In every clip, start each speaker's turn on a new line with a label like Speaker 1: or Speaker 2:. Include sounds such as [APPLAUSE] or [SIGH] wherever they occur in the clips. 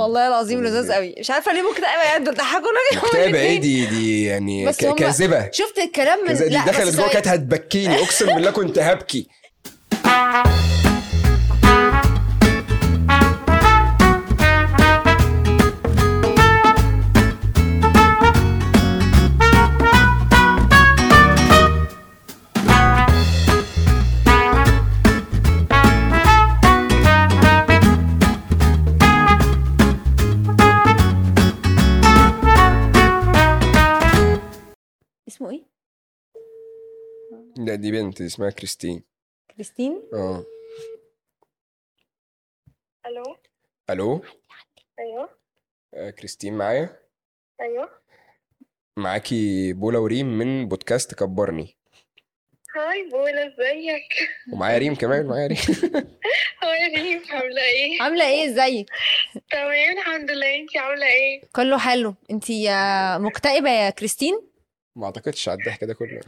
Speaker 1: والله العظيم لذاذ قوي مش عارفه ليه ممكن ابقى قاعد بضحكونا
Speaker 2: مكتئبة ايه دي دي يعني
Speaker 1: إيه؟ بس
Speaker 2: ك-
Speaker 1: هما-
Speaker 2: كاذبة
Speaker 1: شفت الكلام من
Speaker 2: كاذبة دي
Speaker 1: لا
Speaker 2: دخلت
Speaker 1: بس
Speaker 2: جوه كانت
Speaker 1: ثواني. [LAUGHS]
Speaker 2: هتبكيني اقسم بالله كنت هبكي
Speaker 1: اسمه ايه
Speaker 2: لا دي بنت دي اسمها كريستين
Speaker 1: كريستين
Speaker 2: اه
Speaker 3: الو
Speaker 2: الو
Speaker 3: ايوه
Speaker 2: آه، كريستين معايا
Speaker 3: ايوه
Speaker 2: معاكي بولا وريم من بودكاست كبرني
Speaker 3: هاي بولا ازيك
Speaker 2: ومعايا ريم كمان معايا ريم [LAUGHS]
Speaker 3: هاي ريم عامله ايه
Speaker 1: عامله ايه ازيك
Speaker 3: تمام الحمد لله انتي عامله ايه
Speaker 1: كله حلو انت يا مكتئبه يا كريستين
Speaker 2: ما اعتقدش على الضحك ده كله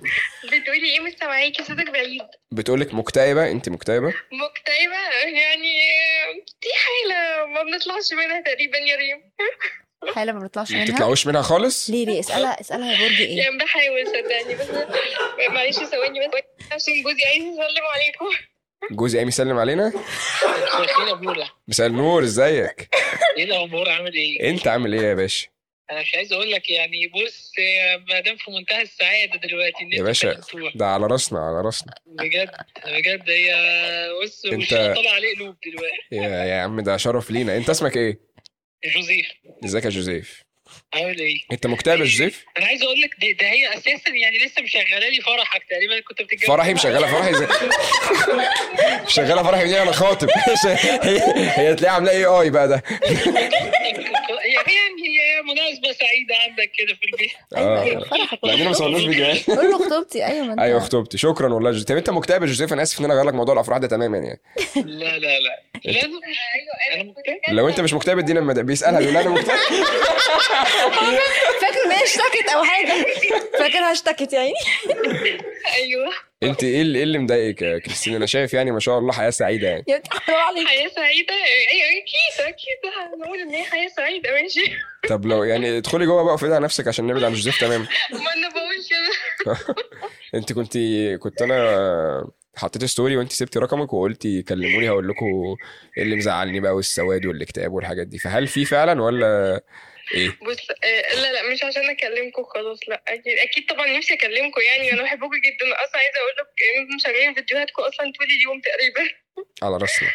Speaker 3: بتقولي ايه مش سامعاكي صوتك بعيد
Speaker 2: بتقولك مكتئبة انت مكتئبة
Speaker 3: مكتئبه يعني دي حاله ما بنطلعش منها تقريبا يا ريم
Speaker 1: حاله ما بنطلعش
Speaker 2: ما
Speaker 1: منها
Speaker 2: بتطلعوش منها خالص
Speaker 1: ليه ليه اسالها اسالها يا برج
Speaker 4: إيه؟
Speaker 1: ايه
Speaker 3: يعني بحاول صدقني بس معلش ثواني بس عشان جوزي عايز يسلم عليكم
Speaker 2: جوزي قام يسلم علينا
Speaker 4: فين ابولا
Speaker 2: مساء النور ازيك
Speaker 4: ايه الاخبار عامل ايه
Speaker 2: انت عامل ايه يا باشا
Speaker 4: انا مش عايز اقول لك يعني بص مدام في منتهى السعاده دلوقتي ان
Speaker 2: يا
Speaker 4: انت
Speaker 2: باشا.
Speaker 4: كانت تروح.
Speaker 2: ده على راسنا على راسنا
Speaker 4: بجد بجد هي بص
Speaker 2: انت-
Speaker 4: مش طالع عليه قلوب دلوقتي
Speaker 2: يا, يا عم ده شرف لينا انت اسمك ايه
Speaker 4: جوزيف
Speaker 2: ازيك يا جوزيف
Speaker 4: عامل ايه
Speaker 2: انت مكتئب يا جوزيف
Speaker 4: انا عايز اقول لك ده, ده هي اساسا يعني لسه مشغله لي فرحك تقريبا كنت بتتجوز [LAUGHS]
Speaker 2: فرحي مشغله فرحي زي مشغله فرحي دي انا خاطب هي هي تلاقيها عامله ايه اي بقى ده
Speaker 4: يعني هي مناسبه سعيده عندك كده في البيت
Speaker 1: ايوه
Speaker 2: اه
Speaker 1: ايوه فرحك
Speaker 2: بعدين ما صورناش فيديوهات
Speaker 1: قول له خطوبتي ايوه ما انت
Speaker 2: ايوه خطوبتي شكرا والله يا جوزيف طب انت مكتئب يا جوزيف انا اسف ان انا غير لك موضوع الافراح ده تماما يعني
Speaker 4: لا لا لا أيوة، لازم انا مكتئب
Speaker 2: لو انت مش مكتئب ادينا المد- بيسالها بيقول لها انا مكتئب
Speaker 1: فاكر ان هي اشتكت او حاجه فاكرها اشتكت يعني؟ يا عيني
Speaker 3: ايوه
Speaker 4: أيوة،
Speaker 2: انت ايه اللي ايه اللي مضايقك يا كريستين انا شايف يعني ما شاء الله حياه سعيده يعني
Speaker 1: يا بنت حرام عليك
Speaker 3: حياه سعيده
Speaker 4: أيوة،
Speaker 3: ايوه اكيد اكيد هنقول ان هي حياه سعيده
Speaker 4: [LAUGHS]
Speaker 3: ماشي
Speaker 2: طب لو يعني ادخلي جوه بقى وافرضي على نفسك عشان نبعد عن جوزيف تماما
Speaker 3: ما انا بقول كده
Speaker 2: انت كنت كنت انا حطيت ستوري وانت سبتي رقمك وقلتي كلموني هقول لكم ايه اللي مزعلني بقى والسواد والاكتئاب والحاجات دي فهل في فعلا ولا ايه
Speaker 3: بص آه، لا لا مش عشان اكلمكم خلاص لا اكيد اكيد طبعا نفسي اكلمكم يعني انا بحبكم جدا اصلا عايزه اقول لك انتم مشغلين فيديوهاتكم اصلا طول اليوم تقريبا
Speaker 2: على راسنا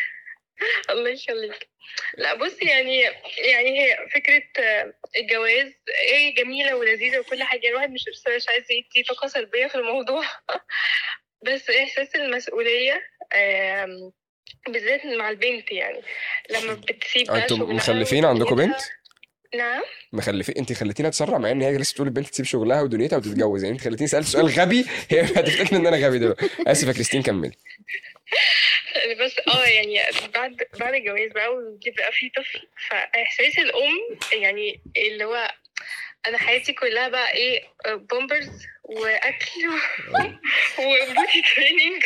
Speaker 3: [LAUGHS] الله يخليك لا بص يعني يعني هي فكره آه، الجواز هي جميله ولذيذه وكل حاجه الواحد مش بس مش عايز يدي طاقه سلبيه في الموضوع [LAUGHS] بس احساس المسؤوليه آم، بالذات مع البنت يعني لما بتسيب بقى
Speaker 2: انتم
Speaker 3: شغلها
Speaker 2: مخلفين عندكم
Speaker 3: ودنيتها-
Speaker 2: بنت
Speaker 3: نعم
Speaker 2: مخلفين انت خليتيني اتسرع مع ان هي لسه بتقول البنت تسيب شغلها ودنيتها وتتجوز يعني انت خليتيني سالت سؤال غبي هي هتفتكر ان انا غبي دلوقتي اسف يا كريستين كملي
Speaker 3: بس اه يعني بعد بعد الجواز بقى وجيب بقى في طفل فاحساس الام يعني اللي هو انا حياتي كلها بقى ايه بومبرز واكل [LAUGHS] وبوتي تريننج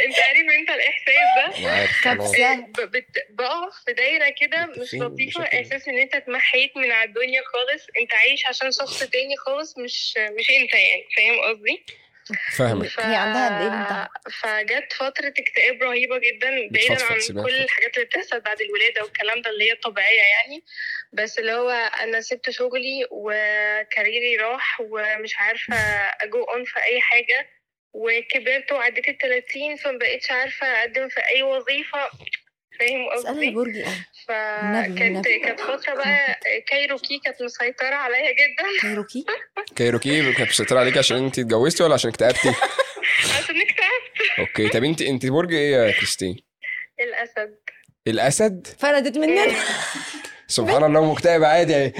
Speaker 3: انت عارف انت الاحساس ده
Speaker 2: انا عارف انا-
Speaker 1: كبسة. لا.
Speaker 3: ب- بت- بقف في دايره كده مش
Speaker 2: متفقين
Speaker 3: لطيفه
Speaker 2: بشكل-
Speaker 3: احساس ان انت اتمحيت من على الدنيا خالص انت عايش عشان شخص تاني خالص مش مش انت يعني فاهم قصدي
Speaker 2: فاهمك
Speaker 3: ف...
Speaker 1: هي عندها قد إيه بنتها؟
Speaker 3: فجت فترة اكتئاب رهيبة جدا بعيدا
Speaker 2: بتفضفض
Speaker 3: عن
Speaker 2: سيبها
Speaker 3: كل
Speaker 2: تفضفض.
Speaker 3: الحاجات اللي بتحصل بعد الولادة والكلام ده اللي هي طبيعية يعني بس اللي هو أنا سبت شغلي وكاريري راح ومش عارفة أجو أون في أي حاجة وكبرت وعديت ال 30 فمبقتش عارفة أقدم في أي وظيفة فاهم
Speaker 1: اسالها يا
Speaker 3: قصدي؟
Speaker 1: برج ايه
Speaker 3: فكانت
Speaker 1: النبي.
Speaker 3: كانت فترة بقى كايروكي كانت مسيطرة عليا [LAUGHS] جدا
Speaker 1: كايروكي
Speaker 2: كايروكي كانت مسيطره عليك عشان انت اتجوزتي ولا عشان اكتئبتي
Speaker 3: عشان اكتئبت
Speaker 2: اوكي طب انت انت برج ايه يا كريستين
Speaker 3: الأسد
Speaker 2: الاسد
Speaker 1: فانا اديت
Speaker 3: آه.
Speaker 1: منك
Speaker 2: سبحان الله مكتئب عادي يعني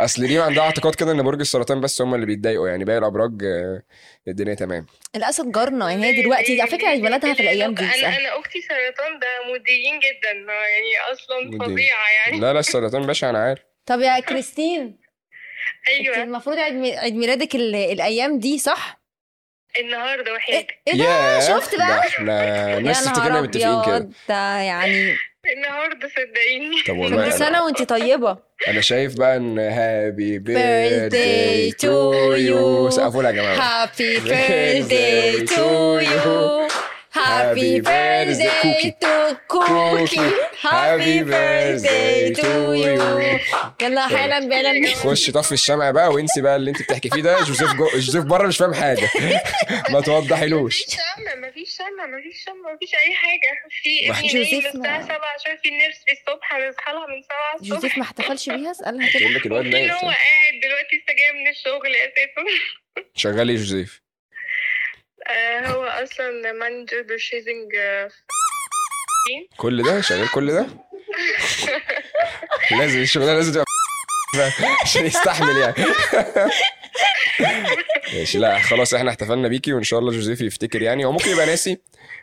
Speaker 2: اصل ريم عندها اعتقاد كده ان برج السرطان بس هم اللي بيتضايقوا يعني باقي الابراج آه، الدنيا تمام الاسد
Speaker 1: جارنا يعني هي دلوقتي على فكره عيد ميلادها في الايام دي
Speaker 3: انا
Speaker 1: اسألها.
Speaker 3: انا اختي سرطان ده مديين جدا آه، يعني اصلا
Speaker 2: مديين.
Speaker 3: فظيعه يعني
Speaker 2: لا لا السرطان باشا انا عارف
Speaker 1: طب يا كريستين
Speaker 5: أيوة،
Speaker 1: انت
Speaker 3: ايوه
Speaker 1: المفروض عيد مي- عيد ميلادك ال- الايام دي صح؟
Speaker 3: النهارده
Speaker 1: ايه
Speaker 3: وحيد
Speaker 1: إيه ده شفت
Speaker 2: ده
Speaker 1: بقى
Speaker 2: احنا
Speaker 1: يا
Speaker 2: الناس
Speaker 1: نهار
Speaker 2: تفتكرنا متفقين كده
Speaker 1: أبيض، ده يعني
Speaker 5: النهارده صدقيني
Speaker 2: طب والله
Speaker 1: كل
Speaker 2: أنا-
Speaker 1: سنة وانت طيبة
Speaker 2: انا شايف بقى ان هابي
Speaker 1: Birthday
Speaker 2: بيرثداي
Speaker 1: to you.
Speaker 2: سقفوا لها يا [LAUGHS] جماعه
Speaker 1: هابي
Speaker 2: Birthday
Speaker 1: birthday
Speaker 2: to
Speaker 1: to you
Speaker 2: Happy
Speaker 1: هابي
Speaker 2: birthday,
Speaker 1: birthday to
Speaker 2: Cookie.
Speaker 1: كوكي
Speaker 2: Happy
Speaker 1: هابي
Speaker 2: birthday
Speaker 1: birthday
Speaker 2: to
Speaker 1: to you يلا حالا بالا
Speaker 2: [LAUGHS] خش طفي الشمع بقى وانسي بقى اللي انت بتحكي فيه ده جوزيف جو... جوزيف بره مش فاهم حاجه [LAUGHS] ما
Speaker 1: [LAUGHS]
Speaker 2: توضحيلوش
Speaker 5: مفيش شمع مفيش شمع مفيش شمع مفيش اي حاجه في
Speaker 2: واحد.
Speaker 5: ابني نايم
Speaker 1: جوزيفنا.
Speaker 5: الساعه 7 عشان في النيرسري الصبح هنصحى لها من 7 الصبح
Speaker 1: جوزيف ما احتفلش بيها اسألها
Speaker 2: [LAUGHS]
Speaker 1: كده
Speaker 2: بقول لك الواد
Speaker 5: وفي إن هو
Speaker 2: نايم
Speaker 5: قاعد دلوقتي لسه جاي من الشغل اساسا
Speaker 2: شغال ايه جوزيف
Speaker 5: آه، هو اصلا مانجر برشيزنج
Speaker 2: كل ده شغال كل ده لازم الشغلانه لازم تبقى
Speaker 1: [LAUGHS]
Speaker 2: عشان يستحمل يعني ماشي لا خلاص احنا احتفلنا بيكي وان شاء الله جوزيف يفتكر يعني هو ممكن يبقى ناسي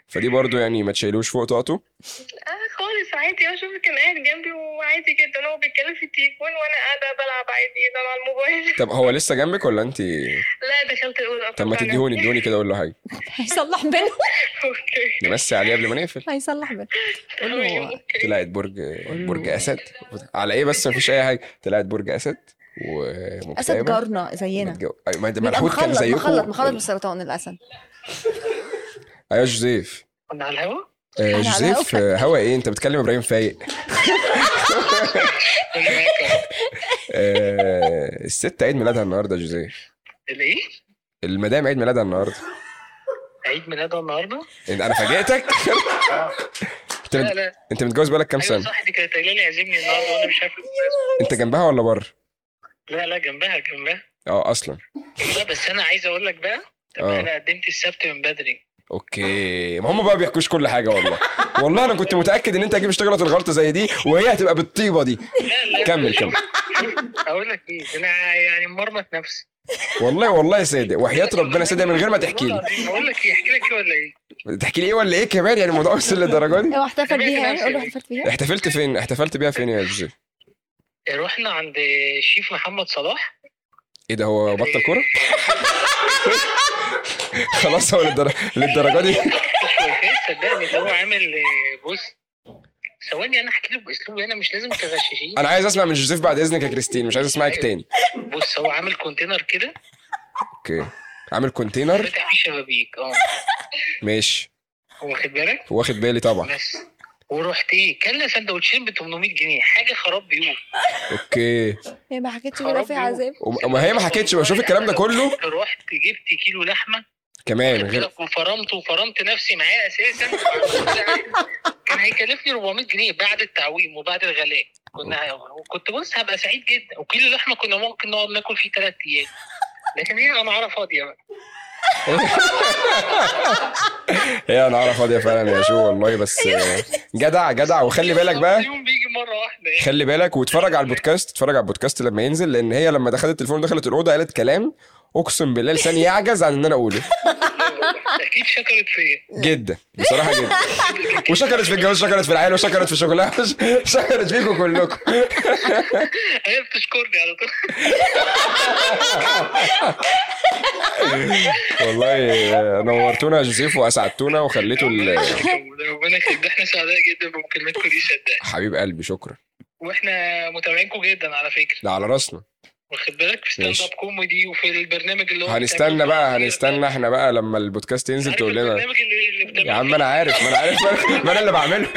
Speaker 2: فدي برضو يعني ما تشيلوش فوق طاقته
Speaker 5: اه خالص عادي اه شوفي كان قاعد جنبي وعادي جدا هو بيتكلم في التليفون وانا قاعده بلعب عادي ده على الموبايل
Speaker 2: طب هو لسه جنبك ولا انت
Speaker 5: [LAUGHS] لا دخلت الاوضه
Speaker 2: طب ما
Speaker 5: فعلا. [LAUGHS]
Speaker 2: تديهوني ادوني كده اقول له حاجه
Speaker 1: هيصلح بينهم
Speaker 5: اوكي
Speaker 2: نمسي عليه قبل ما نقفل
Speaker 1: هيصلح بينهم قول
Speaker 5: تمام،
Speaker 3: أيوة.
Speaker 1: له
Speaker 5: اوكي
Speaker 2: طلعت برج برج اسد على ايه بس مفيش اي حاجه طلعت برج اسد ومكتئبه
Speaker 1: اسد جارنا زينا
Speaker 2: متجو- أيوة، ما ده
Speaker 1: بيبقى
Speaker 2: ملحوط كان
Speaker 1: مخلط
Speaker 2: زيكم
Speaker 1: مخلط مخلط من السرطان الاسد
Speaker 2: ايوه جوزيف
Speaker 3: كنا على الهوا
Speaker 2: آه،
Speaker 1: على
Speaker 2: جوزيف
Speaker 1: قفا.
Speaker 2: آه، هوا ايه انت بتكلم ابراهيم فايق
Speaker 3: انا معاك أهو.
Speaker 2: آه، الست عيد ميلادها النهارده يا جوزيف
Speaker 3: الايه؟
Speaker 2: المدام عيد ميلادها النهارده
Speaker 3: عيد ميلاده النهارده؟
Speaker 2: إن- انا فاجئتك [LAUGHS] انت
Speaker 3: لا
Speaker 2: مت-
Speaker 3: لا
Speaker 2: انت متجوز بقالك كام
Speaker 3: ايوه
Speaker 2: سنه
Speaker 3: أيوة صح دي كانت قايله لي عازمني النهارده وانا مش عارف المناسبة.
Speaker 2: انت جنبها ولا بره
Speaker 3: لا لا جنبها جنبها
Speaker 2: اه اصلا
Speaker 3: لا بس انا عايز اقول لك بقى طب
Speaker 2: آه.
Speaker 3: انا قدمت السبت من بدري
Speaker 2: اوكي ما هم بقى بيحكوش كل حاجه والله والله انا كنت متاكد ان انت هتجيب تغلط الغلطه زي دي وهي هتبقى بالطيبه دي
Speaker 3: لا لا
Speaker 2: كمل
Speaker 3: [LAUGHS]
Speaker 2: كمل
Speaker 3: اقول لك ايه انا يعني مرمط نفسي
Speaker 2: والله والله صادق وحياه ربنا صادق من غير ما تحكي لي
Speaker 3: اقول لك ايه احكي لك ايه ولا ايه؟
Speaker 2: تحكي لي ايه ولا ايه كمان يعني الموضوع وصل للدرجه دي
Speaker 1: هو احتفل بيها يعني قول له احتفلت بيها
Speaker 2: احتفلت فين احتفلت بيها فين يا جوزيف
Speaker 3: رحنا عند شيف محمد صلاح
Speaker 2: ايه ده هو بطل كوره [LAUGHS] خلاص هو للدر... للدرجه دي
Speaker 3: مش كويس صدقني اللي هو عامل آه، بص ثواني انا احكي لك باسلوبي انا مش لازم تغششيني
Speaker 2: انا عايز اسمع من جوزيف بعد اذنك يا كريستين مش عايز اسمعك تاني
Speaker 3: بص هو عامل كونتينر كده
Speaker 2: اوكي عامل كونتينر
Speaker 3: فاتح فيه شبابيك اه
Speaker 2: ماشي
Speaker 3: واخد بالك
Speaker 2: واخد بالي طبعا
Speaker 3: بس ورحت ايه كلنا سندوتشين ب 800 جنيه حاجه خراب بيوت
Speaker 2: اوكي
Speaker 1: هي إيه، ما حكتش ولا في عذاب
Speaker 2: وما- ما هي ما حكتش بشوف الكلام ده كله
Speaker 3: رحت جبت كيلو لحمه [LAUGHS]
Speaker 2: كمان غير
Speaker 3: وفرمت وفرمت نفسي معاه اساسا [LAUGHS] كان هيكلفني 400 جنيه بعد التعويم وبعد الغلاء كنا كنت بص هبقى سعيد جدا وكيلو لحمه كنا ممكن نقعد ناكل فيه ثلاث ايام لكن هي انا عارف فاضيه بقى
Speaker 2: هي انا اعرف فاضيه فعلا يا شو والله بس آه، جدع جدع وخلي بالك بقى
Speaker 3: اليوم بيجي مره واحده [LAUGHS] يعني.
Speaker 2: خلي بالك واتفرج على البودكاست اتفرج على البودكاست لما ينزل لان هي لما دخلت التليفون دخلت الاوضه قالت كلام اقسم بالله لساني يعجز عن ان انا اقوله
Speaker 3: اكيد شكرت فيا
Speaker 2: جدا بصراحه جدا وشكرت في الجواز شكرت في العيله وشكرت في شغلها [LAUGHS] شكرت فيكم كلكم
Speaker 3: هي بتشكرني على طول [LAUGHS]
Speaker 2: والله آه، نورتونا يا جوزيف واسعدتونا وخليتوا ال-
Speaker 3: ربنا يخليك ده احنا سعداء جدا بمكالمتكم دي صدقني
Speaker 2: حبيب قلبي شكرا
Speaker 3: واحنا متابعينكم جدا على فكره
Speaker 2: ده على راسنا
Speaker 3: واخد بالك في ستاند
Speaker 2: ماشي.
Speaker 3: اب كوميدي وفي البرنامج اللي هو
Speaker 2: هنستنى بقى هنستنى احنا بقى لما البودكاست ينزل تقول لنا
Speaker 3: البرنامج اللي, اللي بتعمله
Speaker 2: يا عم انا عارف ما انا عارف ما انا اللي بعمله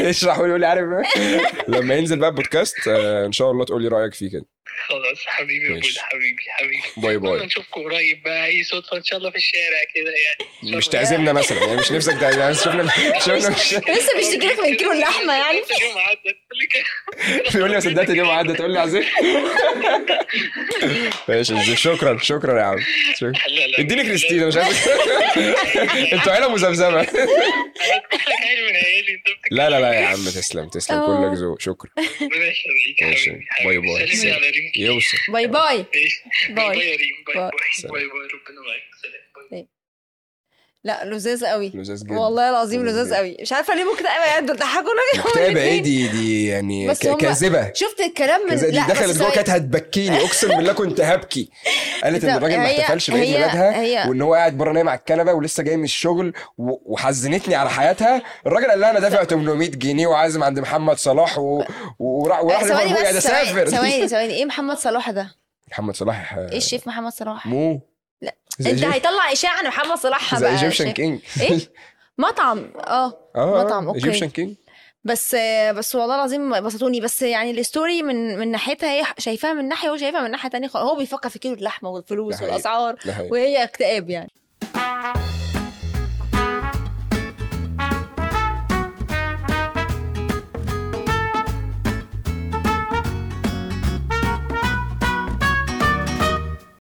Speaker 2: [LAUGHS] اشرح ويقول لي عارف إيه؟" لما ينزل بقى البودكاست آه، ان شاء الله تقول لي رايك فيه كده
Speaker 3: خلاص حبيبي يا
Speaker 2: ماشي.
Speaker 3: بول، حبيبي حبيبي
Speaker 2: باي
Speaker 3: باي
Speaker 2: باي
Speaker 3: نشوفكم قريب بقى اي صدفه ان شاء الله في الشارع كده يعني
Speaker 2: مش تعزمنا مثلا يعني مش نفسك تعزمنا شفنا شفنا مش
Speaker 1: لسه بيشتكي لك من كيلو اللحمه يعني
Speaker 3: اليوم يعني.
Speaker 2: [LAUGHS]
Speaker 3: عدت
Speaker 2: بيقول لي ما صدقت اليوم عدى تقول لي عزيز [LAUGHS] ماشي يا جوزيف، شكرا شكرا يا عم شكرا
Speaker 3: لا لا
Speaker 2: اديني كريستينا مش عارف [LAUGHS] انتوا عيله مزمزمه
Speaker 3: انا بفتح لك عيل من عيالي انت بتك-
Speaker 2: [LAUGHS] لا لا لا يا عم تسلم تسلم
Speaker 1: آه.
Speaker 2: كلك ذوق شكرا [LAUGHS]
Speaker 3: ربنا يخليك
Speaker 2: ماشي.
Speaker 3: حبيبي
Speaker 2: باي
Speaker 3: حبيبي.
Speaker 2: باي.
Speaker 3: سلمي على ريم كده.
Speaker 2: يوصل
Speaker 1: باي باي
Speaker 3: ماشي.
Speaker 1: باي.
Speaker 3: باي يا ريم باي
Speaker 1: باي.
Speaker 3: باي
Speaker 2: سلام.
Speaker 3: باي باي ربنا معاك سلام باي
Speaker 1: لا لذاذ قوي
Speaker 2: لذاذ جدا
Speaker 1: والله العظيم
Speaker 2: لذيذ
Speaker 1: لذاذ
Speaker 2: جدا.
Speaker 1: قوي مش عارفه ليه مكتئبه يا دول ضحكوا لك
Speaker 2: مكتئبة ايه دي دي يعني
Speaker 1: بس
Speaker 2: ك-
Speaker 1: هما-
Speaker 2: كاذبة
Speaker 1: شفت الكلام من
Speaker 2: كذا دي
Speaker 1: لا، بس
Speaker 2: دخلت جوه
Speaker 1: ثواني.
Speaker 2: كانت هتبكيني اقسم بالله كنت هبكي قالت ان
Speaker 1: لا،
Speaker 2: الراجل ما
Speaker 1: يعني هي-
Speaker 2: احتفلش بعيد
Speaker 1: هي-
Speaker 2: ميلادها
Speaker 1: هي-
Speaker 2: وان هو قاعد بره نايم على الكنبه ولسه جاي من الشغل و- وحزنتني على حياتها الراجل قال لها انا دافع 800 جنيه وعازم عند محمد صلاح و... وراح وراح
Speaker 1: آه، ثواني
Speaker 2: ليفربول قاعد
Speaker 1: بس ثواني-
Speaker 2: اسافر
Speaker 1: ثواني ثواني ايه محمد صلاح ده؟
Speaker 2: [LAUGHS] محمد صلاح آه،
Speaker 1: ايه الشيف محمد صلاح؟
Speaker 2: مو
Speaker 1: لا،
Speaker 2: زي
Speaker 1: انت
Speaker 2: إيجيب-
Speaker 1: هيطلع اشاعه عن محمد صلاح
Speaker 2: زي
Speaker 1: بقى
Speaker 2: ايجيبشن
Speaker 1: شيف.
Speaker 2: كينج [LAUGHS]
Speaker 1: ايه؟ مطعم اه
Speaker 2: آه،
Speaker 1: مطعم، أوكي.
Speaker 2: ايجيبشن كينج
Speaker 1: بس بس والله العظيم بسطوني بس يعني الستوري من من ناحيتها هي شايفاها من ناحيه وهو شايفها من ناحيه تانية خالص. هو بيفكر في كيلو اللحمه والفلوس
Speaker 2: ده حقيقي.
Speaker 1: والاسعار
Speaker 2: ده حقيقي.
Speaker 1: وهي اكتئاب يعني